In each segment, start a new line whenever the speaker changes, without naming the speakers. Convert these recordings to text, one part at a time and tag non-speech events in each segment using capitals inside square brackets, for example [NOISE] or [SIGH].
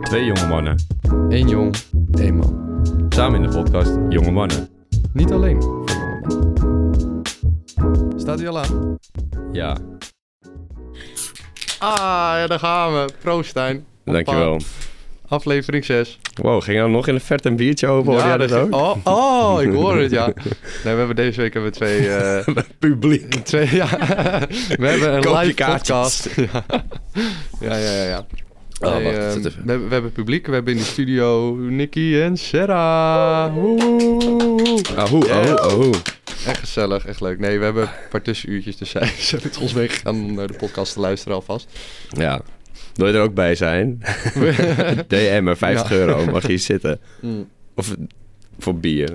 Twee jonge mannen,
Eén jong, één man.
samen in de podcast Jonge Mannen.
Niet alleen voor jonge mannen. Staat hij al aan?
Ja,
Ah, ja, daar gaan we. Proost, Stijn. Hoppa.
dankjewel.
Aflevering 6.
Wow, ging er nog in de verte een biertje over? Hoorde jij dat ook?
Oh, oh, ik hoor het,
[LAUGHS]
ja. Nee, we hebben deze week hebben we twee... eh,
Publiek.
twee ja. We hebben een
Koop je
live
kaartjes. [LAUGHS]
podcast. Ja, ja, ja. ja, ja.
Oh,
Nee,
wacht,
ehm,
zet
we,
even.
hebben, we hebben publiek. We hebben in de studio Nicky en Sarah. Woe.
Ahoe,
Oh,
ahoe, ahoe.
Echt gezellig, echt leuk. Nee, we hebben een paar tussenuurtjes, dus zij zijn met ons meegegaan om naar de podcast te luisteren alvast.
Ja. Wil je er ook bij
[LAUGHS]
zijn? DM er 50
Ja.
euro, mag je hier zitten.
Mm.
Of voor bier.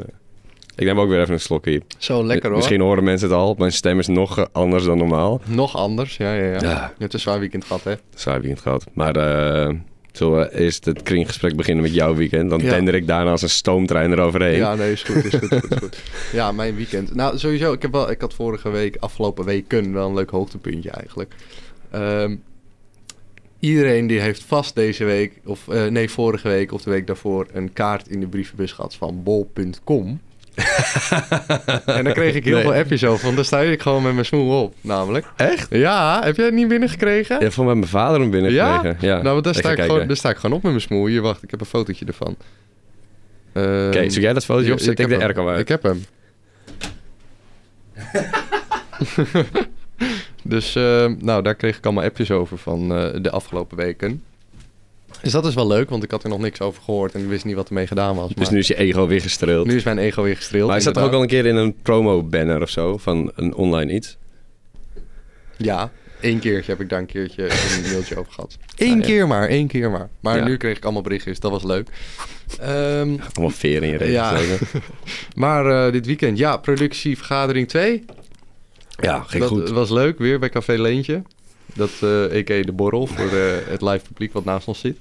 Ik neem ook weer even een slokje.
Zo lekker hoor.
Misschien horen mensen het al. Mijn stem is nog eh, anders dan normaal.
Nog anders, ja, ja, ja.
Ja.
Je hebt een zwaar weekend gehad, hè?
Zwaar weekend gehad. Maar eh zullen we eerst het kringgesprek beginnen met jouw weekend? Dan
Ja.
tender ik daarna als een stoomtrein eroverheen.
Ja, nee, is goed, is goed, is goed.
[LAUGHS]
Ja, mijn weekend. Nou, sowieso, ik, heb wel, ik had vorige week, afgelopen weken, wel een leuk hoogtepuntje eigenlijk. Ehm, iedereen die heeft vast deze week, of eh, nee, vorige week of de week daarvoor, een kaart in de brievenbus gehad
[LAUGHS]
van bol.com. en dan kreeg ik heel
Nee.
veel appjes over, want daar sta ik gewoon met mijn smoel op, namelijk.
Echt?
Ja, heb jij het niet binnengekregen?
Ja, van bij mijn vader hem binnengekregen. Ja? ja.
Nou, want daar
Ik ga
sta, ik
kijken.
gewoon, daar sta ik gewoon op met mijn smoel. Hier, wacht, ik heb een fotootje ervan. Ehm,
Oké, zoek jij dat fotootje op?
ja,
Zet ik
heb
de
hem.
airco uit.
Ik heb hem. [LAUGHS] dus, eh, nou, daar kreeg ik allemaal appjes over van eh, de afgelopen weken. Dus dat is wel leuk, want ik had er nog niks over gehoord en ik wist niet wat ermee gedaan was.
Dus
maar
nu is je ego weer gestreeld.
nu is mijn ego weer gestreeld.
maar hij zat ook
inderdaad.
al een keer in een promo-banner of zo van een online iets.
Ja, één keertje heb ik daar een keertje [LAUGHS] een mailtje over gehad.
Ah,
Eén
ja.
keer maar, één keer maar. Maar
Ja.
nu kreeg ik allemaal berichtjes, dat was [LAUGHS] leuk. Ehm,
Allemaal veer in je reet.
Ja.
Ja,
[LAUGHS] maar eh, dit weekend, ja, productievergadering 2.
ja ging
dat eh,
goed.
was leuk, weer bij Café Leentje. Dat, eh a.k.a. de borrel voor eh, het live publiek wat naast ons zit.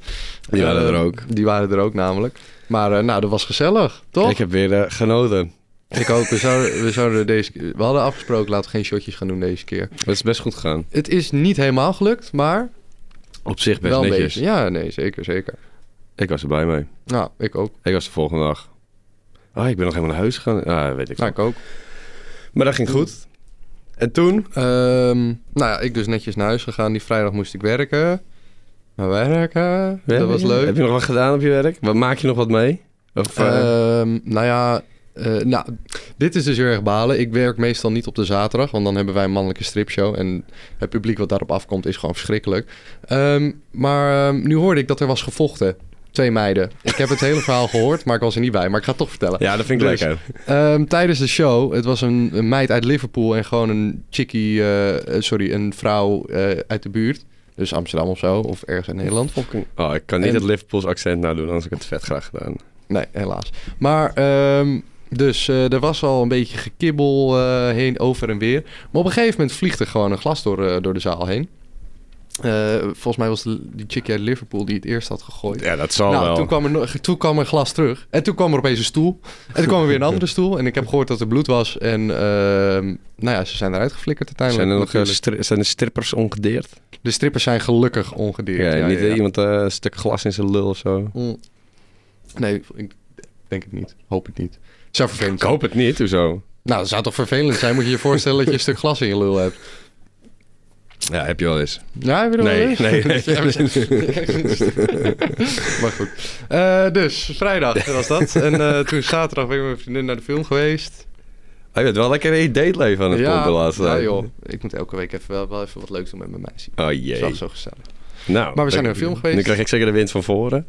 Die waren
Eh,
er ook.
Die waren er ook namelijk. Maar eh, nou, dat was gezellig, toch?
Ik heb weer eh, genoten.
Ik ook. We zouden, we zouden deze... We hadden afgesproken, laten we geen shotjes gaan doen deze keer.
Het is best goed gegaan.
Het is niet helemaal gelukt, maar
Op zich best
wel een
netjes.
beetje. Ja, nee, zeker, zeker.
Ik was er blij mee.
Nou, ik ook.
Ik was de volgende dag. Oh, ik ben nog helemaal naar huis gegaan. Ah, weet ik
Nou,
wel.
ik ook.
Maar dat ging goed. En toen?
Ehm, nou ja, ik dus netjes naar huis gegaan. Die vrijdag moest ik werken. Maar werken, dat was leuk.
Heb je nog wat gedaan op je werk? Wat, maak je nog wat mee? Of, eh,
Ehm, nou ja, eh, nou, dit is dus heel erg balen. Ik werk meestal niet op de zaterdag, want dan hebben wij een mannelijke stripshow. En het publiek wat daarop afkomt is gewoon verschrikkelijk. Ehm, maar ehm, nu hoorde ik dat er was gevochten. Twee meiden. Ik heb het
[LAUGHS]
hele verhaal gehoord, maar ik was er niet bij. Maar ik ga het toch vertellen.
ja, dat vind ik
dus-
lekker.
Ehm, tijdens de show, het was een, een meid uit Liverpool en gewoon een chickie, eh, eh, sorry, een vrouw eh, uit de buurt. Dus Amsterdam of zo, of ergens in Nederland.
Fucking- Oh, ik kan niet
En-
het Liverpools accent nadoen, anders heb ik het vet graag gedaan.
Nee, helaas. Maar ehm, dus eh, er was al een beetje gekibbel eh, heen, over en weer. Maar op een gegeven moment vliegt er gewoon een glas door, eh, door de zaal heen. Eh, volgens mij was de- die chickie uit Liverpool die het eerst had gegooid.
Ja, dat zal
nou,
wel.
Toen, kwam er, nog- toen kwam er glas terug. En toen kwam er opeens een stoel. En toen kwam er weer een andere stoel. En ik heb gehoord dat er bloed was. En ehm, nou ja, ze zijn eruit geflikkerd uiteindelijk.
Zijn er nog eh,
natuurlijk.
stri- zijn de strippers ongedeerd?
De strippers zijn gelukkig ongedeerd.
Ja,
Ja,
niet
ja, ja.
iemand eh, een stuk glas in zijn lul of zo.
Mm. Nee, ik denk het niet. Hoop het niet. Zou vervelend
Ik
zijn.
hoop het niet, hoezo?
Nou, dat zou toch vervelend zijn? Moet je je voorstellen dat je een stuk glas in je lul hebt?
Ja, heb je wel eens.
Ja, heb je dat
Nee,
wel eens?
nee,
[LAUGHS]
nee.
Ja, maar goed. Eh, dus, vrijdag was dat. En eh, toen zaterdag ben ik met mijn vriendin naar de film geweest.
Oh, je bent wel lekker in je dateleven aan het pompen de laatste
ja,
tijd.
joh. Ik moet elke week even wel, wel even wat leuks doen met mijn meisje.
Oh
Dat is
jee.
wel zo gezellig.
Nou,
Maar we zijn
dan-
naar een film geweest.
Nu krijg ik zeker de wind van voren.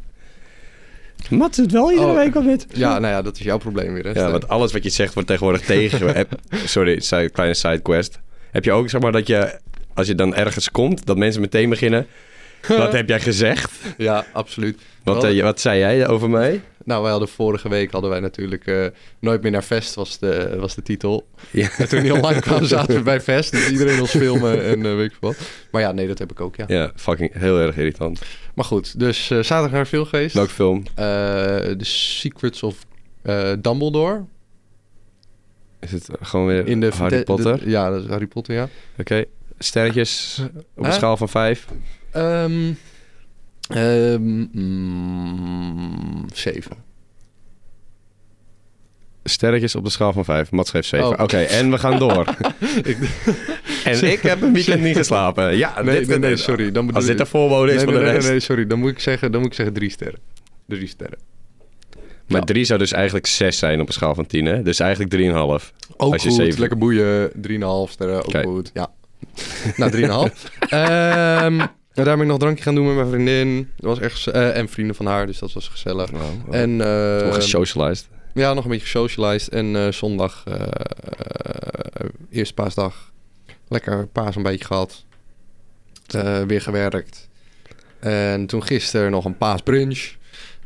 Mat doet wel iedere
Oh.
week wat met.
Ja, nou ja, dat is jouw probleem weer, hè?
Ja,
Stijn?
want alles wat je zegt wordt tegenwoordig tegen. Heb- Sorry, side, kleine sidequest. Heb je ook, zeg maar, dat je... Als je dan ergens komt, dat mensen meteen beginnen... Wat heb jij gezegd?
Ja, absoluut.
Wat,
Wel-
eh, wat zei jij over mij?
Nou, wij hadden vorige week hadden wij natuurlijk eh, Nooit meer naar Vest was de, was de titel.
Ja.
En toen die online kwam zaten we bij Vest. Dus iedereen ons filmen en eh, weet ik veel wat. Maar ja, nee, dat heb ik ook, ja.
[LAUGHS] Ja, fucking heel erg irritant.
Maar goed, dus eh, zaterdag naar de film geweest.
Welke film?
Eh, The Secrets of eh, Dumbledore.
Is het gewoon weer
In de
Harry
de-
Potter?
de- ja, dat is Harry Potter, ja.
Oké. Sterretjes op een
Hè?
schaal van vijf.
Ehm, Ehm, mm, Zeven.
Sterretjes op de schaal van 5. Mats geeft 7.
Oh.
Oké, en we gaan
[LAUGHS]
door. en ik heb een weekend niet geslapen. Ja,
nee,
Ah, dit,
nee, nee, sorry. Dan bedoel
Als dit
ik-
de voorbode is
nee,
van
nee,
de
nee,
rest.
nee, sorry. Dan moet ik zeggen, dan moet ik zeggen drie sterren. Drie sterren.
Maar
Ja.
3 zou dus eigenlijk 6 zijn op een schaal van 10, hè? Dus eigenlijk 3,5.
Ook
Als je
goed.
zeven-
Lekker boeien. 3,5 sterren. Ook
Kijk.
goed. Ja. nou, 3,5.
[LAUGHS]
Ehm en daar ben ik nog drankje gaan doen met mijn vriendin. Dat was echt, eh, en vrienden van haar, dus dat was gezellig.
en,
En, eh,
gesocialized.
ja, nog een beetje gesocialized. En eh, zondag, eh eh, eerste paasdag, lekker paas een beetje gehad. Eh, weer gewerkt. En toen gisteren nog een paasbrunch.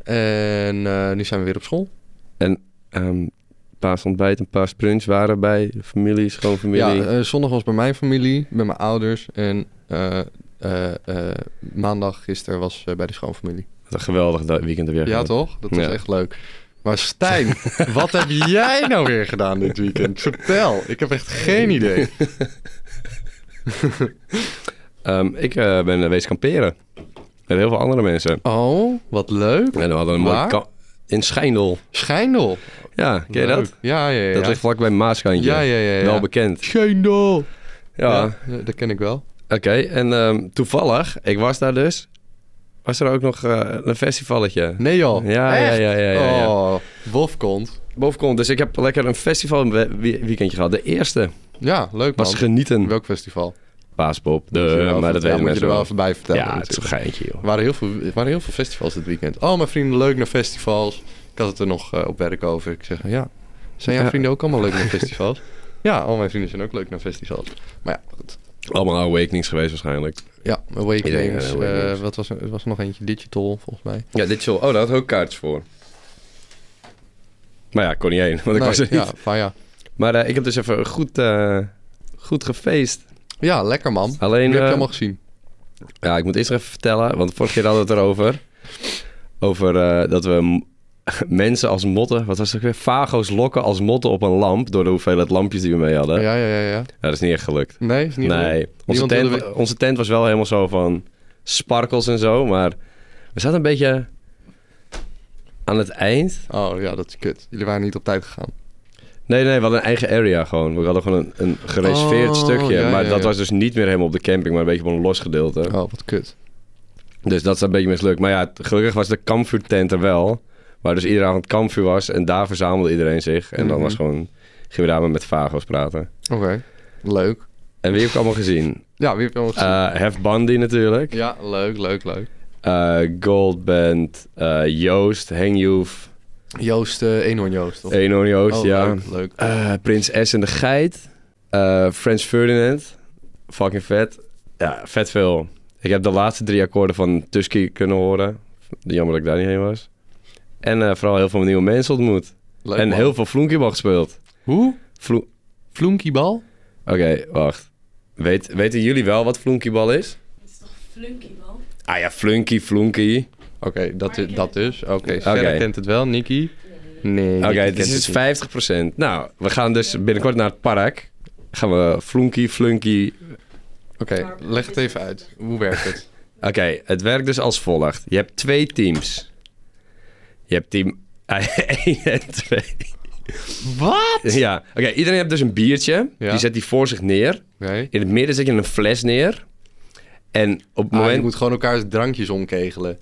En eh, nu zijn we weer op school.
Ehm paasontbijt en paaspunch waren bij familie, schoonfamilie.
Ja, eh, zondag was bij mijn familie, bij mijn ouders. En eh, eh, eh, maandag gisteren was eh, bij de schoonfamilie.
Wat een geweldig da- weekend er weer.
Ja,
gehad.
toch? Dat was
Ja.
echt leuk. Maar Stijn,
[LAUGHS]
wat heb jij nou weer gedaan dit weekend? Vertel, ik heb echt
[LAUGHS]
geen idee.
Ehm, ik eh, ben eh, wezen kamperen. Met heel veel andere mensen.
Oh, wat leuk.
En we hadden een mooi
Waar?
kamp... In Schijndel.
Schijndel.
Ja, ken je dat?
Leuk. Ja, ja, ja.
Dat ligt vlakbij Maaskantje.
ja, ja, ja, ja.
Wel bekend.
Schijndel.
Ja,
ja, dat ken ik wel.
oké. En ehm, toevallig, ik was daar dus, was er ook nog eh, een festivalletje.
Nee joh.
Ja, ja,
Echt?
ja, ja, ja, ja.
Oh, Wolf komt.
Bovenkom, dus ik heb lekker een festival weekendje gehad. De eerste
Ja, leuk man.
was genieten.
Welk festival?
Paaspop,
Moet je er
de,
wel
maar dat
even- ja,
weten
moet je
mensen
er wel
wel.
even bij vertellen.
Ja, het is
natuurlijk.
een geintje, joh.
Er waren, heel veel, er waren heel veel festivals dit weekend. Oh, mijn vrienden, leuk naar festivals. Ik had het er nog eh, op werk over. Ik zeg, ja, zijn jouw
Ja.
vrienden ook allemaal leuk naar
[LAUGHS]
festivals? ja, al mijn vrienden zijn ook leuk naar festivals. Maar ja, goed.
Allemaal awakenings geweest waarschijnlijk.
Ja,
Iedereen,
Awakenings.
eh,
eh
Awakenings.
wat was er? Er was nog eentje, Digital, volgens mij.
Ja, dit show. Oh, daar had ik ook kaartjes voor. Maar ja, ik kon niet heen, [LAUGHS] want ik
Nee,
was er niet.
Ja, van ja.
Maar eh, ik heb dus even goed, eh, goed gefeest.
ja, lekker man.
Alleen,
Die heb je
eh,
allemaal gezien.
ja, ik moet eerst even vertellen, want vorige keer hadden we het erover. Over eh, dat we m- [LAUGHS] mensen als motten, wat was het ook weer? Vago's lokken als motten op een lamp, door de hoeveelheid lampjes die we mee hadden. Ja,
Ja, ja, ja, ja.
Nou, dat is niet echt gelukt.
Nee, is niet leuk.
eh. nee, onze
Niemand
tent,
wilde
onze tent was wel helemaal zo van sparkles en zo, maar we zaten een beetje aan het eind.
Oh ja, dat is kut. Jullie waren niet op tijd gegaan.
Nee, nee, we hadden een eigen area gewoon. We hadden gewoon een, een gereserveerd
Oh,
stukje.
ja,
maar
ja,
dat
ja.
was dus niet meer helemaal op de camping, maar een beetje op een los gedeelte.
Oh, wat kut.
Dus dat is een beetje mislukt. Maar ja, t- gelukkig was de kampvuurtent er wel. Waar dus iedere avond kampvuur was. En daar verzamelde iedereen zich. En dan
Mhm.
was gewoon, gingen we daar maar met Vagos praten.
Oké, leuk.
En wie heb ik allemaal gezien?
Ja, wie heb je allemaal gezien?
Eh Hef Bandy natuurlijk.
ja, leuk, leuk, leuk.
Eh, Goldband. eh, Joost. Hengjoef.
Joost, eh Eenhoorn Joost, toch?
Enon Joost,
Oh,
ja.
leuk, leuk.
Eh, Prins S en de Geit. eh Frans Ferdinand. Fucking vet. Ja, vet veel. Ik heb de laatste drie akkoorden van Tusky kunnen horen. Jammer dat ik daar niet heen was. En eh, vooral heel veel nieuwe mensen ontmoet.
Leuk,
en
man.
heel veel vloenkiebal gespeeld.
Hoe?
Vlo-
Floenkiebal?
Oké, wacht. Weet, weten jullie wel wat vloenkiebal is?
Het is toch flunky wel?
Ah ja, flunky, flunky.
Oké, dat,
Maar ik
is,
ken
dat
het
dus. Oké,
Oké.
Sarah kent het wel, Nicky. Nee,
Oké,
Nicky
dit
kent het
is
niet.
50%. Nou, we gaan dus binnenkort naar het park. Gaan we flunky, flunky
Oké, leg het even uit. Hoe werkt het?
Oké, het werkt dus als volgt. Je hebt twee teams. Je hebt team [LAUGHS] 1 en 2.
[LAUGHS] Wat?
Ja, oké. iedereen heeft dus een biertje.
Ja.
Die zet die voor zich neer.
Nee. Ah,
In het midden zet je een fles neer. En op het
Ah,
moment...
je moet gewoon elkaars drankjes omkegelen.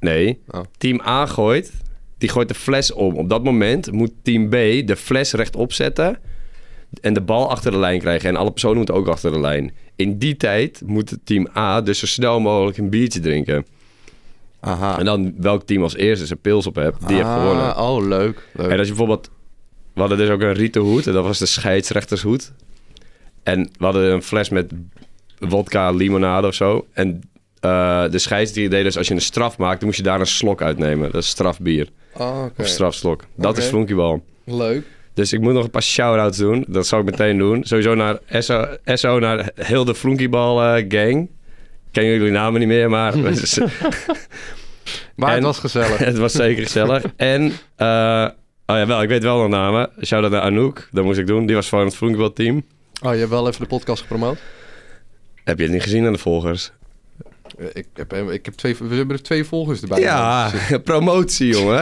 Nee.
Oh.
Team A gooit. Die gooit de fles om. Op dat moment moet team B de fles rechtop zetten. En de bal achter de lijn krijgen. En alle personen moeten ook achter de lijn. In die tijd moet het team A dus zo snel mogelijk een biertje drinken.
Aha.
En dan welk team als eerste zijn pils op hebt, die heeft gewonnen.
Ah, Oh, leuk. leuk.
En als je bijvoorbeeld... We hadden dus ook een rieten hoed. En dat was de scheidsrechtershoed. En we hadden een fles met wodka, limonade of zo. En eh, de scheids die deed dus als je een straf maakt... dan moest je daar een slok uitnemen. Dat is strafbier.
Oh, oké.
Of strafslok. Dat
Oké.
is flonkiebal.
Leuk.
Dus ik moet nog een paar shout-outs doen. Dat zou ik meteen doen. Sowieso naar SO, SO naar heel de flonkiebal eh, gang. Ik ken jullie namen niet meer, maar
[LAUGHS] Maar
En-
het was [LAUGHS] gezellig.
[LAUGHS] het was zeker gezellig. En, eh, oh ja, wel, ik weet wel nog namen. Shout-out naar Anouk, dat moest ik doen. Die was van het vlonkbalteam.
Oh, je hebt wel even de podcast gepromoot?
Heb je het niet gezien aan de volgers?
Eh, Ik heb, hem- ik heb twee, we hebben er twee volgers erbij.
Ja,
Dus
[LAUGHS] promotie, jongen.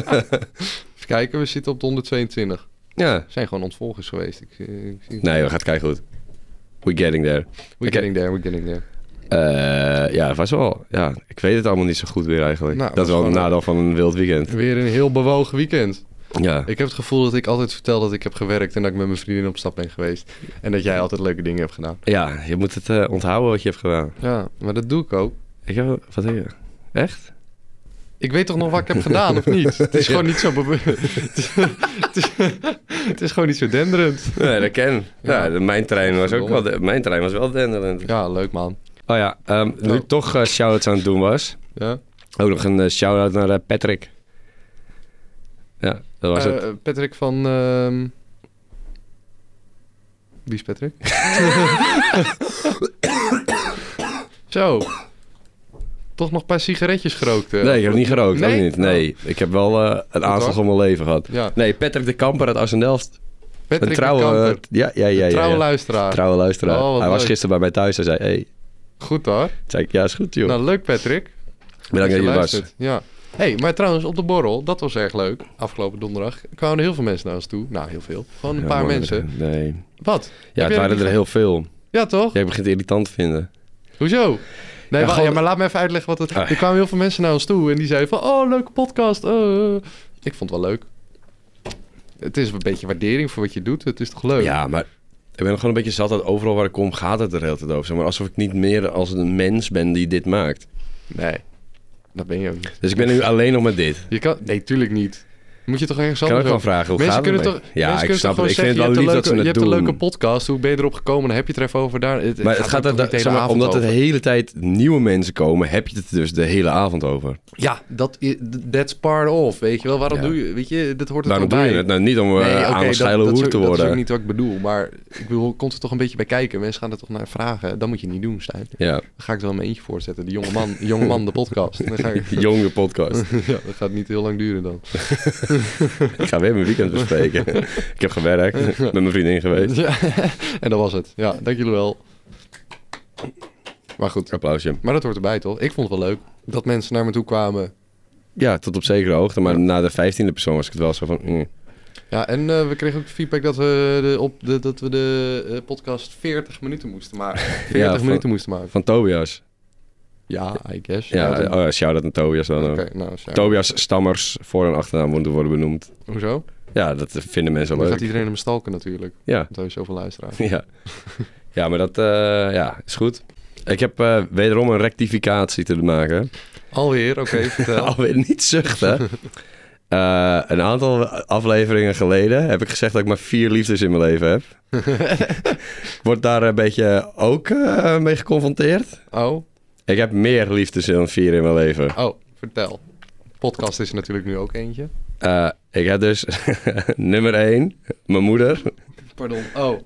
[LAUGHS]
Even kijken, we zitten op de 122.
ja.
We zijn gewoon ontvolgers geweest. Ik, eh, ik zie...
Nee, we gaan het kijken goed. We're getting there.
We're getting there, we're getting there.
Eh, ja, vast wel. Ja, ik weet het allemaal niet zo goed weer eigenlijk.
Nou,
dat is wel
was
een
gewoon-
nadeel van een wild weekend.
Weer een heel bewogen weekend.
Ja.
Ik heb het gevoel dat ik altijd vertel dat ik heb gewerkt en dat ik met mijn vriendin op stap ben geweest. En dat jij altijd leuke dingen hebt gedaan.
ja, je moet het eh, onthouden wat je hebt gedaan.
Ja, maar dat doe ik ook.
Ik heb... Wat heb je? Echt?
Ik weet toch nog wat ik heb gedaan, of niet?
[LAUGHS]
Het is gewoon niet zo... bewe- [LAUGHS] het, is, het, is, het is gewoon niet zo denderend.
Nee, dat ken. Ja,
Ja.
de- mijn trein was ook wel...
Verdomme.
de- Mijn trein was wel denderend.
Ja, leuk man.
Oh ja, ehm, nu
Ja.
ik toch eh, shout-outs aan het doen was.
Ja.
Ook nog een eh, shout-out naar eh, Patrick. Ja, dat was het.
Eh, Patrick van... ehm, Wie is Patrick?
[LAUGHS]
Zo. Toch nog een paar sigaretjes gerookt. eh.
Nee, ik heb niet gerookt.
Nee?
Ook niet. Nee, ik heb wel eh, een aanslag
hoor.
om mijn leven gehad.
Ja,
Nee, Patrick de Kamper uit Assendelft.
Patrick
Een
de
trouwe... eh,
Kamper.
ja, ja, ja,
Een
ja, ja.
trouwe luisteraar.
Trouwe luisteraar.
Oh, wat
Hij was
leuk.
gisteren bij mij thuis. Hij zei, hey.
Goed hoor.
zei ik, ja, is goed, joh.
Nou, leuk Patrick.
Bedankt dat je er was.
luistert. Ja. hey, maar trouwens, op de borrel, dat was erg leuk. Afgelopen donderdag kwamen er heel veel mensen naar ons toe. Nou, heel veel. Gewoon een
Ja,
paar
maar-
mensen.
Nee.
Wat?
Ja,
jij
het
dat
waren
niet
er heel veel.
Ja, toch?
Jij begint het irritant te vinden.
Hoezo? Nee, wacht,
gewoon-
ja, maar laat me even uitleggen wat het...
Ah.
Er kwamen heel veel mensen naar ons toe en die zeiden van... Oh, leuke podcast. eh, eh." Ik vond het wel leuk. Het is een beetje waardering voor wat je doet. Het is toch leuk?
Ja, maar ik ben gewoon een beetje zat dat overal waar ik kom gaat het er de hele tijd over. Zeg maar alsof ik niet meer als een mens ben die dit maakt.
Nee, dat ben je ook niet.
Dus ik ben nu alleen nog met dit.
Je kan... Nee, tuurlijk niet. Moet je toch ergens
Ik kan ook
anders
gewoon
over-
vragen, hoe gaat
Mensen kunnen
het?
toch,
mee? ja,
mensen
ik
kunnen
snap
toch
het. Ik
gewoon
vind het wel lief
zeggen, je
dat
hebt
ze
een leuke-
het
Je hebt een leuke
doen.
podcast, hoe ben je erop gekomen? Dan heb je het er even over daar. Het,
Maar het gaat
er
er,
toch niet de hele
zeg maar,
avond
omdat het
over?
de hele tijd nieuwe mensen komen, heb je het dus de hele avond over.
Ja, dat, i- that's part of, weet je wel. Waarom
Ja.
doe je... Weet je, dat hoort er
Waarom
toch
doe
bij.
je het? Nou, niet om eh,
oké,
aan een
dat,
geile
dat is
hoer te
ook- Dat is ook
worden.
niet wat ik bedoel, maar ik bedoel, komt er toch een beetje bij kijken. Mensen gaan er toch naar vragen. Dat moet je niet doen, Stijn.
Ja,
Dan ga ik er wel mijn eentje voorzetten. De jonge man, jonge man de podcast. Dan ga [LAUGHS] ik,
[LAUGHS] jonge podcast.
[LAUGHS] ja, dat gaat niet heel lang duren dan.
ik ga weer mijn weekend bespreken. ik heb
[LAUGHS]
gewerkt, met mijn vriendin geweest.
Ja, en dat was het. Ja, dank jullie wel. Maar goed.
Applausje.
Maar dat hoort erbij, toch? Ik vond het wel leuk dat mensen naar me toe kwamen.
Ja, tot op zekere hoogte, maar na de vijftiende persoon was ik het wel zo van... mm.
Ja, en eh, we kregen ook feedback dat we de, op de, dat we de eh, podcast 40 minuten moesten
[LAUGHS]
maken. 40
van-
minuten moesten maken.
Van Tobias.
Ja, I guess.
Ja,
dat-
oh ja, shout-out aan Tobias dan
Oké,
ook.
nou, sorry.
Tobias Stammers voor en achternaam moeten worden benoemd.
Hoezo?
Ja, dat vinden mensen
Dan
leuk.
gaat iedereen hem stalken natuurlijk.
Ja. [LAUGHS]
Want hij is zoveel luisteraars.
Ja, ja maar dat eh, ja, is goed. Ik heb eh, wederom een rectificatie te maken.
Alweer, oké,
[LAUGHS]
vertel.
Alweer niet
[LAUGHS]
zuchten. Eh, een aantal afleveringen geleden heb ik gezegd dat ik maar vier liefdes in mijn leven heb.
[LAUGHS]
ik word daar een beetje ook eh, mee geconfronteerd.
Oh,
Ik heb meer liefdes dan vier in mijn leven.
oh, vertel. Podcast is er natuurlijk nu ook eentje.
Eh, ik heb dus [LAUGHS] nummer één, mijn moeder.
Pardon, oh.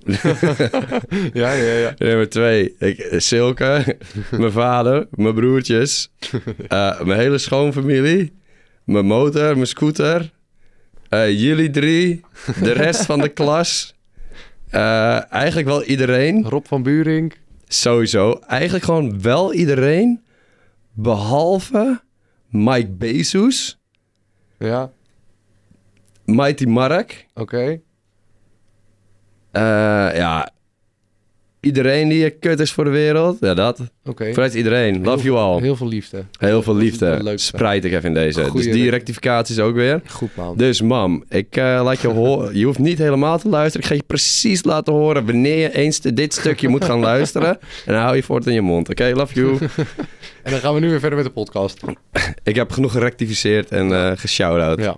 [LAUGHS] ja, ja, ja.
Nummer twee, ik, Silke, mijn vader, mijn broertjes, eh, mijn hele schoonfamilie, mijn motor, mijn scooter, eh, jullie drie, de rest van de klas, eh, eigenlijk wel iedereen,
Rob van Buring.
sowieso, eigenlijk gewoon wel iedereen, behalve Mike Bezos,
Ja,
Mighty Mark,
oké.
eh, ja, iedereen die een kut is voor de wereld, ja dat,
Oké.
vooruit iedereen, love you all.
Heel veel liefde.
Heel veel
Dat is het
liefde.
leukste.
Spreid ik even in deze.
Goeie
dus die
rectificatie.
rectificaties ook weer.
Goed man.
Dus mam, ik eh, laat je
[LAUGHS]
horen. Je hoeft niet helemaal te luisteren. Ik ga je precies laten horen wanneer je eens dit stukje moet gaan
[LAUGHS]
luisteren. En dan hou je voort in je mond. Oké, love you.
En dan gaan we nu weer verder met de podcast.
Ik heb genoeg gerectificeerd en eh geshout-out.
Ja.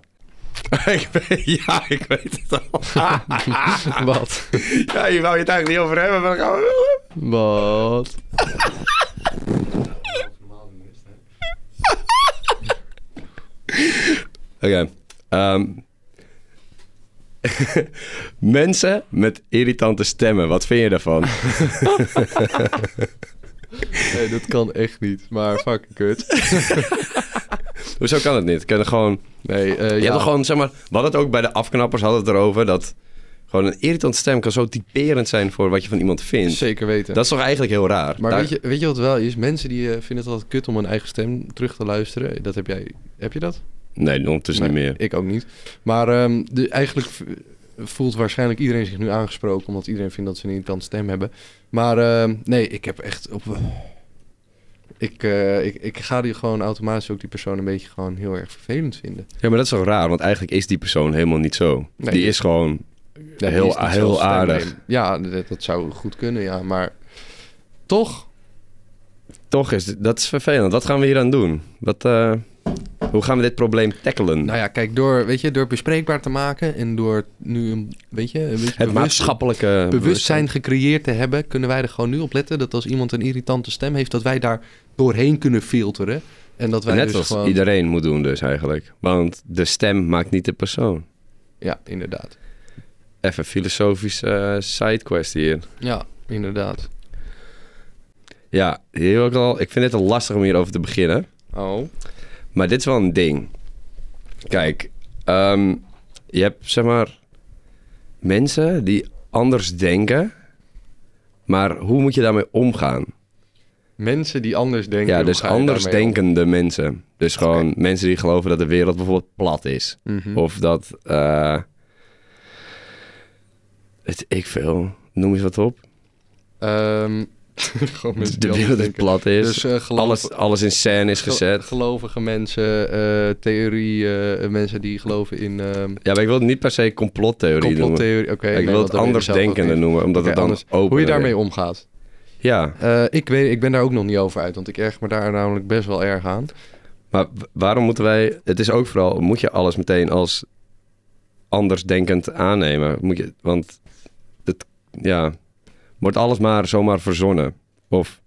[LAUGHS] ik weet- ja, ik weet het
[LAUGHS]
al. [LAUGHS]
Wat?
Ja, je wou je het eigenlijk niet over hebben, maar dan gaan we...
Wat?
Oké. ehm, [LAUGHS] mensen met irritante stemmen. Wat vind je
[LAUGHS]
daarvan?
Nee, dat kan echt niet. Maar fucking kut.
Hoezo kan het niet? Kunnen gewoon...
Nee, eh
Je
ja.
hebt er gewoon, zeg maar, we hadden het ook bij de afknappers hadden we het erover dat Gewoon een irritant stem kan zo typerend zijn voor wat je van iemand vindt.
Zeker weten.
Dat is toch eigenlijk heel raar?
maar
Daar-
weet, je, weet je wat het wel is? Mensen die eh, vinden het altijd kut om hun eigen stem terug te luisteren. Dat heb jij. Heb je dat?
Nee, ondertussen niet
Nee,
meer.
Ik ook niet. Maar ehm, de, eigenlijk v- voelt waarschijnlijk iedereen zich nu aangesproken, omdat iedereen vindt dat ze een irritant stem hebben. Maar ehm, nee, ik heb echt op. Ik, eh, ik, ik ga die gewoon automatisch ook die persoon een beetje gewoon heel erg vervelend vinden.
Ja, maar dat is toch raar? Want eigenlijk is die persoon helemaal niet zo.
Nee.
die is gewoon...
die
heel-
is niet
heel
zelfs stemleem.
aardig.
Ja, dat, dat zou goed kunnen, ja. Maar toch,
Toch is... Dat is vervelend. Wat gaan we hier aan doen? Wat, eh, hoe gaan we dit probleem tackelen?
nou ja, kijk, door, weet je, door bespreekbaar te maken en door nu een, weet je, een beetje
het
bewust-
maatschappelijke...
bewustzijn gecreëerd te hebben, kunnen wij er gewoon nu op letten dat als iemand een irritante stem heeft, dat wij daar doorheen kunnen filteren. En dat wij
Net
dus
als
gewoon...
iedereen moet doen dus eigenlijk. Want de stem maakt niet de persoon.
Ja, inderdaad.
Even filosofische eh, sidequest hier.
Ja, inderdaad.
Ja, hier ook al, ik vind het al lastig om hierover te beginnen.
Oh.
Maar dit is wel een ding. Kijk, ehm, je hebt zeg maar mensen die anders denken. Maar hoe moet je daarmee omgaan?
Mensen die anders denken.
ja,
hoe
dus
ga je
anders
daarmee om?
denkende mensen. Dus gewoon mensen die geloven dat de wereld bijvoorbeeld plat is.
Mhm.
Of dat. eh het, ik veel. Noem eens wat op.
Ehm, [LAUGHS] gewoon
De
mensen die anders
wereld die
denken.
plat is.
Dus eh, geloof-
alles, alles in scène is
gel-
gezet.
Gelovige mensen, eh theorie, eh, mensen die geloven in ehm
Ja, maar ik wil het niet per se complottheorie noemen.
complottheorie. Oké,
ik
nee,
wil
want
het
dan weet
anders
je zelf ook
denkende
niet.
noemen, omdat
Oké,
het dan
anders.
open
Hoe je daarmee omgaat.
Ja,
Eh, ik, weet, ik ben daar ook nog niet over uit, want ik erg me daar namelijk best wel erg aan.
maar w- waarom moeten wij... Het is ook vooral, moet je alles meteen als andersdenkend aannemen? Moet je, want het, ja, wordt alles maar zomaar verzonnen? Of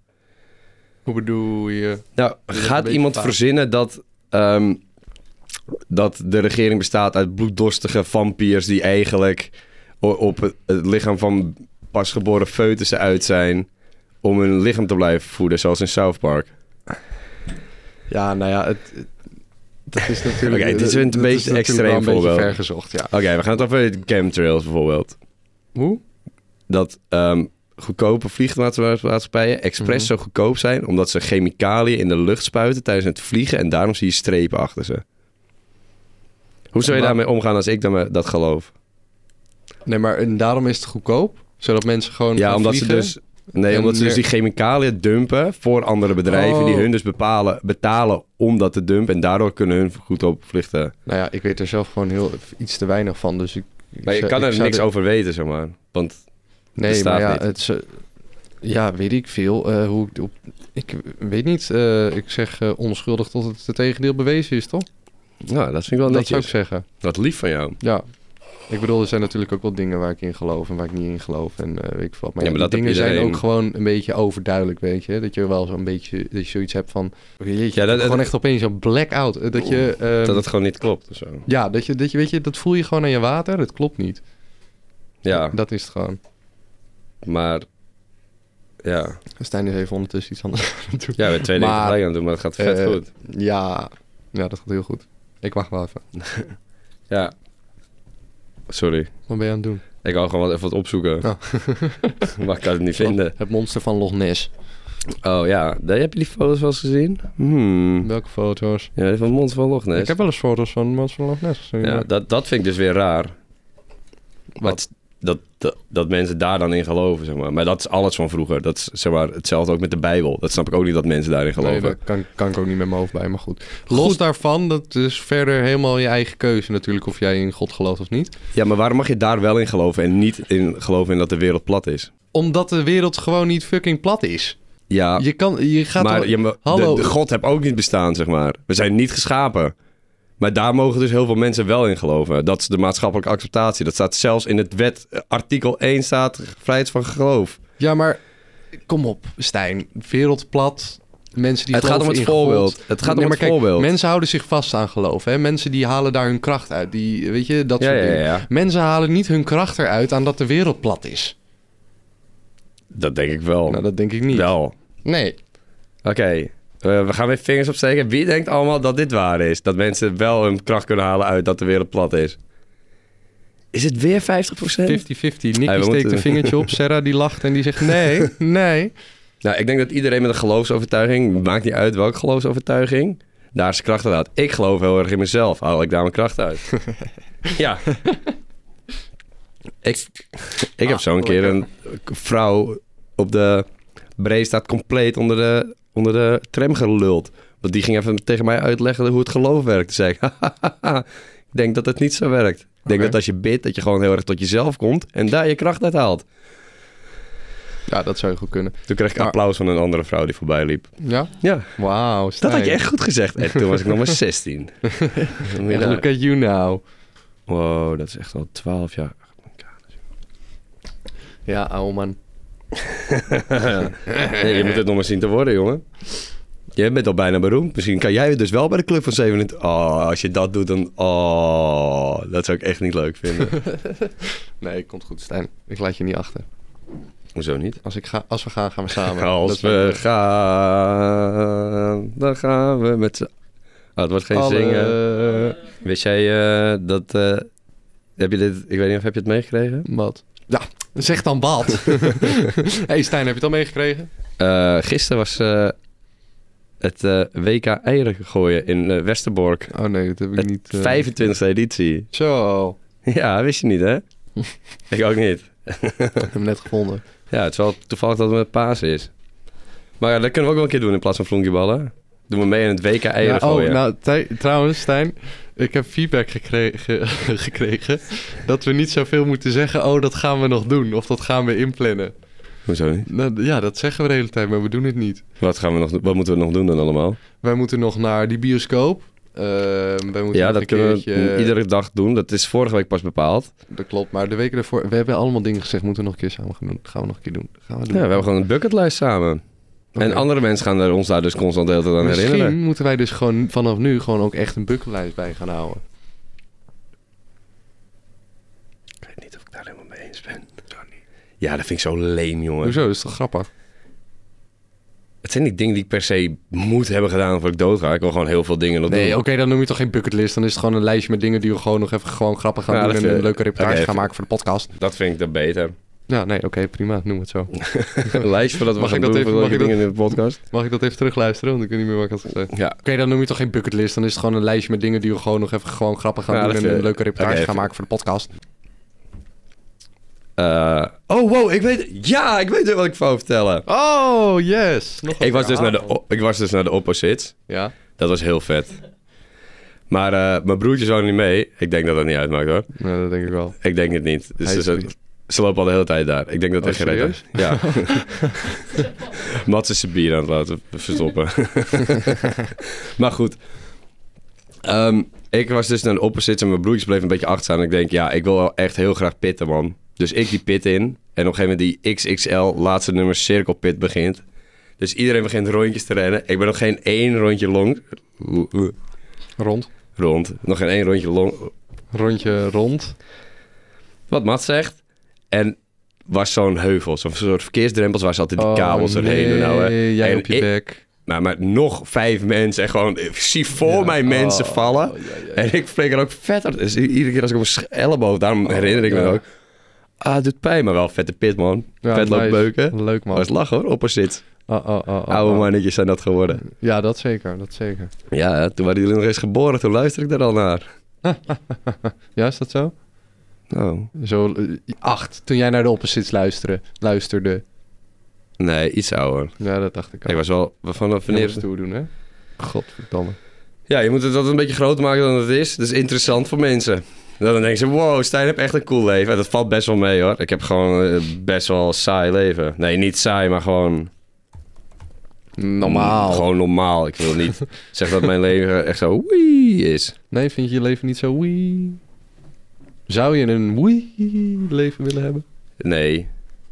Hoe bedoel je?
Nou,
is een
gaat
beetje
iemand
vaag.
verzinnen dat, ehm, dat de regering bestaat uit bloeddorstige vampiers die eigenlijk o- op het, het lichaam van pasgeboren foetussen uit zijn om hun lichaam te blijven voeden, zoals in South Park?
Ja, nou ja, het, het- dat is natuurlijk...
Oké, dit is
dat-
een
dat
beetje
is natuurlijk
extreem
wel een beetje
voorbeeld.
vergezocht, ja.
Oké, we gaan het over chemtrails bijvoorbeeld.
Hoe?
Dat ehm, goedkope vliegtuigmaatschappijen expres zo
Mhm.
goedkoop zijn omdat ze chemicaliën in de lucht spuiten tijdens het vliegen en daarom zie je strepen achter ze. Hoe zou je
Maar-
daarmee omgaan als ik daarmee- dat geloof?
Nee, maar en daarom is het goedkoop, zodat mensen gewoon
Ja,
gaan
omdat ze
vliegen.
dus. Nee,
en
omdat ze dus
meer-
die chemicaliën dumpen voor andere bedrijven. Die
Oh.
hun dus bepalen, betalen om dat te dumpen. En daardoor kunnen hun goedkoop vluchten.
Nou ja, ik weet er zelf gewoon heel iets te weinig van, dus ik... ik
Maar je
zou-
kan
ik
er
zou
niks
dit-
over weten, zeg maar. Want
Nee,
bestaat
maar ja,
niet.
het is, eh, ja, weet ik veel. eh, hoe ik, op, ik weet niet, eh, ik zeg eh, onschuldig tot het, het tegendeel bewezen is, toch?
nou, dat vind ik wel
dat
netjes.
zou ik zeggen,
Wat lief van jou.
ja. Ik bedoel, er zijn natuurlijk ook wel dingen waar ik in geloof en waar ik niet in geloof. En eh, weet ik veel. wat. Maar,
Ja,
ja,
maar
die
dat
dingen
heb
zijn
iedereen.
ook gewoon een beetje overduidelijk, weet je. Dat je wel zo'n beetje, dat je zoiets hebt van... Jeetje,
Ja, dat-
gewoon
dat-
echt opeens een blackout. eh, Dat je... ehm,
Dat het gewoon niet klopt of zo.
Ja, dat je, dat je, weet je, dat voel je gewoon aan je water. Het klopt niet.
Ja,
Dat is het gewoon.
maar. Ja,
Stijn is even ondertussen iets anders aan het doen.
ja we hebben twee dingen
Maar,
tegelijk aan het doen, maar het gaat vet
eh,
goed.
Ja. ja, dat gaat heel goed. Ik wacht wel even.
Ja. Sorry.
Wat ben je aan het doen?
Ik wou gewoon wat, even wat opzoeken. [LAUGHS]
Oh.
maar ik kan het niet vinden.
Het monster van Loch Ness.
Oh ja, daar heb je die foto's wel eens gezien? Hmm.
Welke foto's?
Ja, die van Mond van Loch Ness.
Ik heb wel eens foto's van het monster van Loch Ness gezien.
Ja,
maar-
dat, dat vind ik dus weer raar.
Wat?
Maar het- dat, dat, dat mensen daar dan in geloven, zeg maar. Maar dat is alles van vroeger. Dat is zeg maar, hetzelfde ook met de Bijbel. Dat snap ik ook niet dat mensen daarin geloven.
Nee, daar kan, kan ik ook niet met mijn hoofd bij, maar goed. Los daarvan, dat is verder helemaal je eigen keuze natuurlijk... of jij in God gelooft of niet.
Ja, maar waarom mag je daar wel in geloven en niet in geloven in dat de wereld plat is?
Omdat de wereld gewoon niet fucking plat is.
Ja,
Je, kan, je gaat...
Ah. maar
wel-
je, ma-
Hallo.
De, de God heb ook niet bestaan, zeg maar. We zijn niet geschapen. Maar daar mogen dus heel veel mensen wel in geloven. Dat is de maatschappelijke acceptatie. Dat staat zelfs in het wet. eh, Artikel 1 staat vrijheid van geloof.
Ja, maar kom op, Stijn. Wereld plat. Mensen die
Het gaat om
geloven
het
in God.
voorbeeld. Het gaat om
maar
het
kijk,
voorbeeld.
Mensen houden zich vast aan geloof. Hè? Mensen die halen daar hun kracht uit. Die, weet je, dat
Ja,
soort
ja,
dingen.
ja.
Mensen halen niet hun kracht eruit aan dat de wereld plat is.
Dat denk ik wel.
Nou, dat denk ik niet.
wel.
Nee.
Oké, eh, we gaan weer vingers opsteken. Wie denkt allemaal dat dit waar is? Dat mensen wel hun kracht kunnen halen uit dat de wereld plat is? Is het weer 50%? Eh.
50-50. Nicky
Hey, we
steekt
moeten-
een vingertje op. Sarah die lacht en die zegt nee,
[LAUGHS]
nee.
Nou, ik denk dat iedereen met een geloofsovertuiging, maakt niet uit welke geloofsovertuiging, daar zijn kracht uit haalt. Ik geloof heel erg in mezelf, haal ik daar mijn kracht
[LAUGHS]
uit. ja. ik ik heb
Ah,
zo'n keer een vrouw op de Breestraat compleet onder de, onder de tram geluld. Want die ging even tegen mij uitleggen hoe het geloof werkt. Toen zei ik, [LAUGHS] ik denk dat het niet zo werkt. Ik denk
Oké.
dat als je bidt, dat je gewoon heel erg tot jezelf komt en daar je kracht uit haalt.
Ja, dat zou je goed kunnen.
Toen kreeg ik
Maar-
applaus van een andere vrouw die voorbij liep.
Ja?
Ja.
Wauw,
Dat had je
Stijn.
echt goed gezegd. En toen was ik nog [LAUGHS] maar 16.
Echt Look at you now.
Wow, dat is echt al 12 jaar.
Ja, ouwe man.
[LAUGHS] Nee, je moet het nog maar zien te worden, jongen. Jij bent al bijna beroemd. Misschien kan jij dus wel bij de club van 27. Oh, als je dat doet, dan. Oh, dat zou ik echt niet leuk vinden.
Nee, komt goed, Stijn. Ik laat je niet achter.
[LAUGHS] Hoezo niet?
Als, ik ga, als we gaan, gaan we samen. Dat
Als
is mijn-
we gaan, dan gaan we met z'n. Oh, het wordt geen
Alle-
zingen. Wist jij eh, dat. eh, heb je dit. Ik weet niet of heb je het meegekregen?
Wat? Ja, zeg dan
[LAUGHS]
wat. hey Stijn, heb je het al meegekregen?
Eh, gisteren was eh, het eh, WK eieren gooien in eh, Westerbork.
Oh nee, dat heb ik
Het
niet.
25e editie. [LAUGHS]
Zo,
Ja, wist je niet,
[LAUGHS]
hè? ik ook niet.
ik heb hem net
[LAUGHS]
gevonden.
Ja, het is wel toevallig dat het met Paas is. Maar ja, dat kunnen we ook wel een keer doen in plaats van flonkieballen. Doen we mee in het WK eieren
Ja, oh,
gooien.
nou, tij- trouwens, Stijn, ik heb feedback gekregen, [LAUGHS] gekregen dat we niet zoveel moeten zeggen. Oh, dat gaan we nog doen, of dat gaan we inplannen.
Hoezo niet?
Nou, ja, dat zeggen we de hele tijd, maar we doen het niet.
Wat, gaan we nog, doen? wat moeten we nog doen dan allemaal?
Wij moeten nog naar die bioscoop. Ehm, wij moeten
ja,
nog
dat
een
kunnen
keertje...
we iedere dag doen. Dat is vorige week pas bepaald.
Dat klopt, maar de weken ervoor... We hebben allemaal dingen gezegd, moeten we nog een keer samen gaan doen. Gaan we nog een keer doen. Gaan we
Ja,
doen.
we hebben gewoon een bucketlijst samen.
Oké.
En andere mensen gaan daar, ons daar dus constant de hele tijd aan
Misschien
herinneren.
moeten wij dus gewoon vanaf nu gewoon ook echt een buckellijst bij gaan houden.
Ik weet niet of ik daar helemaal mee eens ben. Ja, dat vind ik zo leem, jongen.
Hoezo? Dat is toch grappig?
Het zijn niet dingen die ik per se moet hebben gedaan voordat ik doodga. Ik wil gewoon heel veel dingen nog
Nee,
doen.
oké, dan noem je toch geen bucketlist. Dan is het gewoon een lijstje met dingen die we gewoon nog even gewoon grappig gaan
Ja,
doen.
dat
En
vind-
een leuke reportage
oké,
gaan
even-
maken voor de podcast.
Dat vind ik dan beter.
Ja, nee, oké, prima. Noem het zo.
[LAUGHS] Een lijst voordat we
Mag
gaan
ik dat
doen
even-
voor
mag
leuke
ik dat-
dingen in de podcast.
Mag ik dat even terugluisteren? Want ik weet niet meer wat ik had gezegd. Oké,
Ja.
dan noem je toch geen bucketlist. Dan is het gewoon een lijstje met dingen die we gewoon nog even gewoon grappig gaan
Ja,
doen.
dat
En
vind-
een leuke reportage
oké,
gaan
even-
maken voor de podcast.
Eh, oh, wow, ik weet... Ja, ik weet weer wat ik wou vertellen.
Oh, yes! Nog een
Ik was, dus naar
verhaal.
de, o- ik was dus naar de opposites.
Ja?
Dat was heel vet. Maar eh, mijn broertje zou niet mee. Ik denk dat dat niet uitmaakt, hoor.
Nou, dat denk ik wel.
Ik denk het niet. Dus
Hij is
ze-
niet.
ze lopen al de hele tijd daar. Ik denk dat
Oh,
het gered is. Ja.
[LAUGHS]
Mats is zijn bier aan het laten verstoppen. maar goed. Ehm, ik was dus naar de opposite en mijn broertjes bleef een beetje achter staan. En ik denk, ja, ik wil wel echt heel graag pitten, man. Dus ik die pit in. En op een gegeven moment die XXL laatste nummer cirkelpit begint. Dus iedereen begint rondjes te rennen. Ik ben nog geen één rondje long...
Rond.
Rond. Nog geen één rondje long,
Rondje rond.
wat Matt zegt. En was zo'n heuvel, zo'n soort verkeersdrempels waar ze altijd die kabels doorheen doen. Nou, hè.
Oh, nee, jij
En
op je
ik-
bek.
maar, maar nog vijf mensen en gewoon, ik zie voor
Ja.
mij mensen
Oh,
vallen.
ja, ja, ja.
En ik flikker ook vet hard. Dus i- iedere keer als ik op mijn sch- elleboog, daarom herinner ik me
Oh, ja.
dat ook. Ah, het doet pijn, maar wel vette pit, man.
Ja,
vet lopen
nice.
beuken.
Leuk
Dat
man.
was lachen hoor, opposite.
Oh, oh, oh, oh,
Oude
oh.
mannetjes zijn dat geworden.
Ja, dat zeker, dat zeker.
Ja, toen waren jullie nog eens geboren, toen luister ik daar al naar.
Ja, is dat zo?
Oh.
Zo eh, acht, toen jij naar de opposites luisterde. luisterde.
Nee, iets ouder.
Ja, dat dacht ik al.
Ik was wel, vanaf
Jij
wanneer...
moest toe doen, hè? Godverdamme.
Ja, je moet het altijd een beetje groter maken dan het is. Dat is interessant voor mensen. Dan denken ze, wow, Stijn heeft echt een cool leven. En dat valt best wel mee hoor. Ik heb gewoon eh, best wel saai leven. Nee, niet saai, maar gewoon...
Normaal.
Gewoon normaal. Ik wil [LAUGHS] niet zeggen dat mijn leven echt zo wee is.
Nee, vind je je leven niet zo wee? Zou je een wee leven willen hebben?
Nee,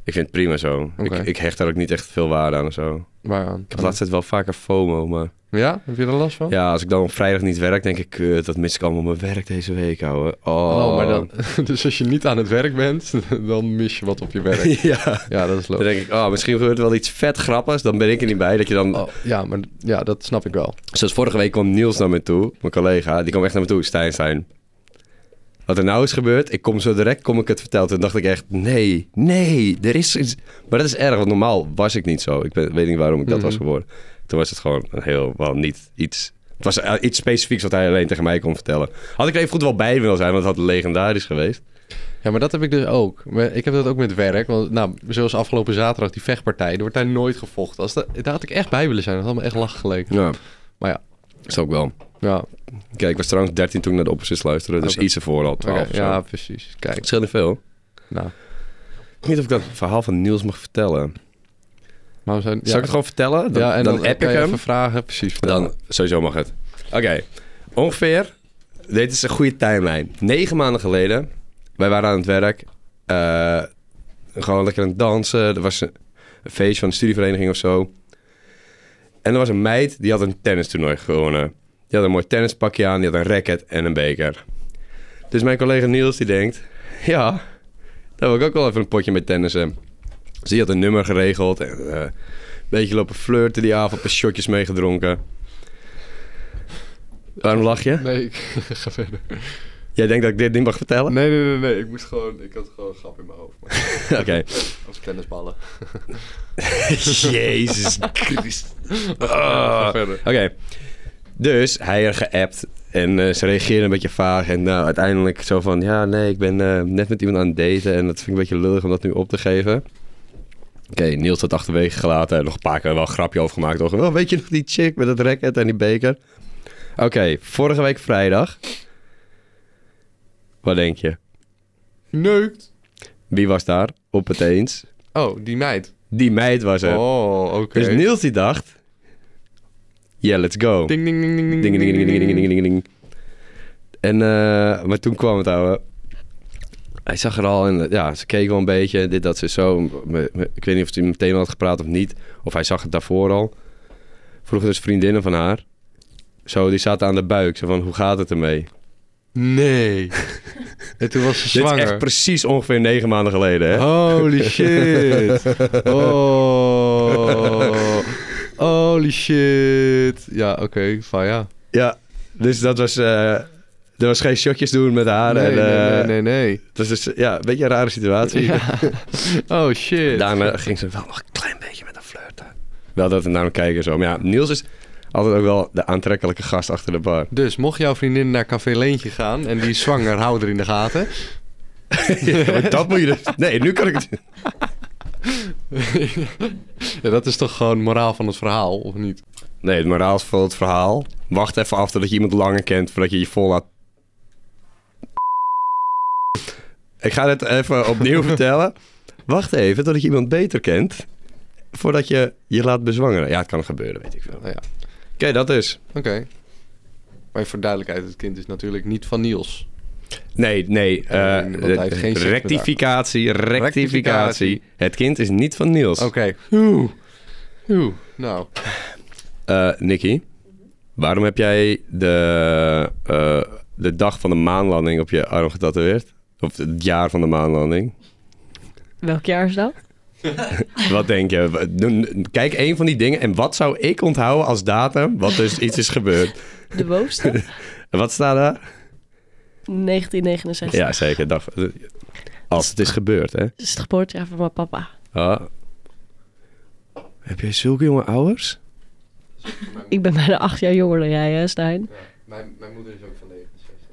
ik vind het prima zo.
Oké.
Ik, ik hecht daar ook niet echt veel waarde aan of zo. Ik
Waaraan?
heb de laatste tijd wel vaker FOMO, maar...
Ja? Heb je er last van?
Ja, als ik dan op vrijdag niet werk, denk ik... kut, dat mis ik allemaal mijn werk deze week, ouwe. Oh,
Oh, maar dan, [LAUGHS] dus als je niet aan het werk bent, [LAUGHS] dan mis je wat op je werk.
[LAUGHS] [LAUGHS] ja.
Ja, dat is
Dan
logisch.
denk ik, oh, misschien gebeurt er wel iets vet grappigs. Dan ben ik er niet bij. Dat je dan...
Oh, ja, maar ja, dat snap ik wel.
Zoals vorige week kwam Niels naar me toe, mijn collega. Die kwam echt naar me toe. Stijn, Stijn. Wat er nou is gebeurd, ik kom zo direct, kom ik het vertellen. Toen dacht ik echt, nee, nee, er is iets. Maar dat is erg, want normaal was ik niet zo. Ik ben- weet niet waarom ik dat was
Mhm.
geworden. Toen was het gewoon een heel, wel niet iets... Het was eh, iets specifieks wat hij alleen tegen mij kon vertellen. Had ik er even goed wel bij willen zijn, want het had legendarisch geweest.
Ja, maar dat heb ik dus ook. Maar Ik heb dat ook met werk. Want, nou, zoals afgelopen zaterdag, die vechtpartij, er wordt daar nooit gevochten. Als dat, daar had ik echt bij willen zijn. Dat had me echt lach geleken.
Ja.
Maar ja.
Is ook wel.
Ja,
Kijk, ik was trouwens 13 toen ik naar de opposites luisterde. Dus
Oké.
iets ervoor al, 12
oké, oh, ja precies. Kijk,
Verschil niet veel.
nou.
Ik weet niet of ik dat verhaal van Niels mag vertellen.
Maar we zijn,
Zal ik het gewoon vertellen? Dan,
ja, en
dan,
dan,
app ik
kan je
hem.
even vragen. Precies.
Dan, sowieso mag het. Oké, ongeveer. Dit is een goede timeline. Negen maanden geleden, wij waren aan het werk. eh, gewoon lekker aan het dansen. Er was een, een feest van de studievereniging of zo. En er was een meid die had een tennistoernooi gewonnen. Die had een mooi tennispakje aan, die had een racket en een beker. Dus mijn collega Niels die denkt, ja, daar wil ik ook wel even een potje mee tennissen. Dus die had een nummer geregeld en eh, een beetje lopen flirten die avond, een paar shotjes meegedronken. Waarom lach je?
Nee, ik [LAUGHS] ga verder.
Jij denkt dat ik dit niet mag vertellen?
Nee, nee, nee, nee. Ik, moest gewoon, ik had gewoon een grap in mijn hoofd. maar-
[LAUGHS] Oké.
Als tennisballen.
Ah. Jezus Christus. Ah.
Ga
Oké.
verder.
Dus hij er geappt en eh, ze reageerde een beetje vaag. En nou, uiteindelijk zo van, ja nee, ik ben eh, net met iemand aan het daten en dat vind ik een beetje lullig om dat nu op te geven. Oké, Niels had achterwege gelaten en nog een paar keer wel een grapje over gemaakt. Toch? Wel, weet je nog die chick met het racket en die beker? Oké, vorige week vrijdag. Wat denk je?
Neukt.
Wie was daar op het eens?
Oh, die meid.
Die meid was het.
Oh, oké.
Dus Niels die dacht... Yeah, let's go. Ding,
Ding, ding, ding, ding, ding,
ding, ding, ding, ding, ding, ding, ding. En, eh, maar toen kwam het ouwe. Hij zag er al en eh, ja, ze keek wel een beetje. Dit, dat, ze zo. Me- me- Ik weet niet of hij meteen al had gepraat of niet. Of hij zag het daarvoor al. Vroeger dus vriendinnen van haar. Zo, die zaten aan de buik. Zo van, hoe gaat het ermee?
Nee. [LAUGHS] en toen was ze zwanger. Oh.
Dit is echt precies ongeveer negen maanden geleden, hè?
[LAUGHS] Holy shit. Oh. Holy shit. Ja, oké. Van ja.
Ja, dus dat was... eh, er was geen shotjes doen met haar.
Ah, nee,
en, eh,
nee, nee, nee, nee.
Dat is dus, ja, een beetje een rare
[LAUGHS]
situatie.
Oh shit.
Daarna ging ze wel nog een klein beetje met een flirten. Wel dat we naar hem kijken zo. Maar ja, Niels is altijd ook wel de aantrekkelijke gast achter de bar.
Dus mocht jouw vriendin naar Café Leentje gaan en die is zwanger, hou er in de gaten.
[LAUGHS] Ja, maar dat moet je dus... Nee, nu kan ik het...
ja, dat is toch gewoon moraal van het verhaal, of niet?
Nee, het moraal is van het verhaal. Wacht even af totdat je iemand langer kent voordat je je vol laat... Ik ga het even [LAUGHS] opnieuw vertellen. Wacht even totdat je iemand beter kent voordat je je laat bezwangeren. Ja, het kan gebeuren, weet ik veel. Oké,
Nou ja,
dat is...
oké. Maar voor duidelijkheid, het kind is natuurlijk niet van Niels.
Nee, nee. eh,
Eh, want hij heeft geen seks met haar.
rectificatie, rectificatie.
Rectificatie.
Het kind is niet van Niels.
Oké. Oeh. Oeh. Nou,
Eh, Nicky, waarom heb jij de, eh, de dag van de maanlanding op je arm getatoeëerd? Of het jaar van de maanlanding?
Welk jaar is dat?
Wat denk je? Wa- doen- Kijk, één van die dingen. En wat zou ik onthouden als datum? Wat dus iets is gebeurd.
De bovenste?
[LAUGHS] Wat staat daar?
1969.
Ja, zeker. Dag. Als het is gebeurd, hè?
Dat is het geboortejaar van mijn papa.
Ah. Heb jij zulke jonge ouders?
Ik ben bijna acht jaar jonger dan jij, hè, Stijn?
mijn, mijn moeder is ook van 69.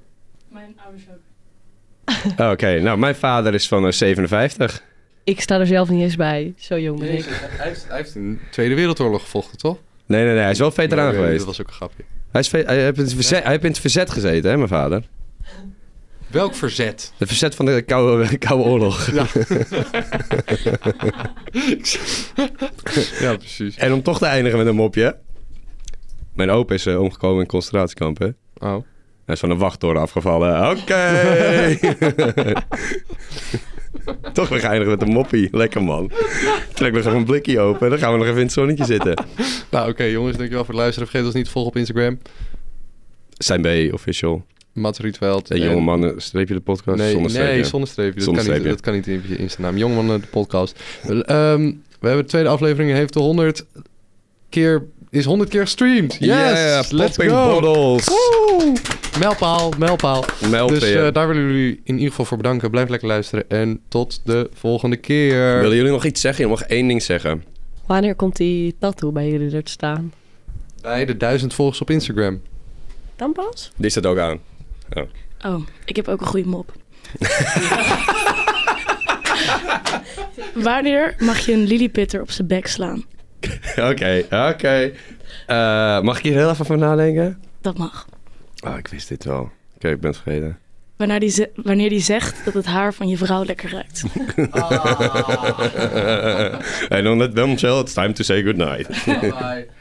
Mijn ouders ook.
Oké, nou, mijn vader is van eh, 57.
Ik sta er zelf niet eens bij. Zo jong ben ik.
Jezus, hij, heeft, hij heeft in de Tweede Wereldoorlog gevochten, toch?
Nee, nee, nee, hij is wel veteraan
Nee,
geweest.
Dat was ook een grapje.
Hij, is ve- hij, heeft in het verzet, hij heeft in het verzet gezeten, hè, mijn vader?
Welk verzet?
Het verzet van de Koude, [LAUGHS] Koude Oorlog.
[LAUGHS] Ja, precies.
En om toch te eindigen met een mopje. Mijn opa is eh, omgekomen in concentratiekampen.
Oh.
Hij is van een wachttoren afgevallen. Oké!
[LAUGHS]
toch weer eindigen met een moppie. Lekker, man. Trek nog even een blikje open. en Dan gaan we nog even in het zonnetje zitten.
Nou, oké jongens, dankjewel voor het luisteren. Vergeet ons niet te volgen op Instagram.
Zijn bij official.
Mats Rietveld.
De
en-
jonge mannen, streep je de podcast?
Nee,
zonder
nee,
streepje.
zonder streepje. Dat,
Zonder
kan
streepje.
Niet, dat kan niet in je Instagram. Jongman, de podcast. Wel, ehm, we hebben de tweede aflevering. Heeft de 100 keer... Is 100 keer gestreamd. Yes!
Yeah,
let's
popping
go!
bottles.
Woe! Mijlpaal, mijlpaal.
Meld
Dus
je.
eh, daar willen jullie in ieder geval voor bedanken. Blijf lekker luisteren en tot de volgende keer.
Willen jullie nog iets zeggen? Je mag één ding zeggen.
Wanneer komt die tattoo bij jullie er te staan?
Bij de duizend volgers op Instagram.
Dan pas?
Die staat ook aan. [LAUGHS]
Oh, ik heb ook een goede [LAUGHS] mop. Wanneer mag je een lillipitter op zijn bek slaan?
Oké, oké. Eh, mag ik hier heel even van nadenken?
Dat mag.
Oh, ik wist dit wel. Oké, ik ben het vergeten.
Wanneer die, ze- wanneer die zegt dat het haar van je vrouw lekker ruikt.
[LAUGHS] En dan let them chill, it's time to say goodnight.
Bye.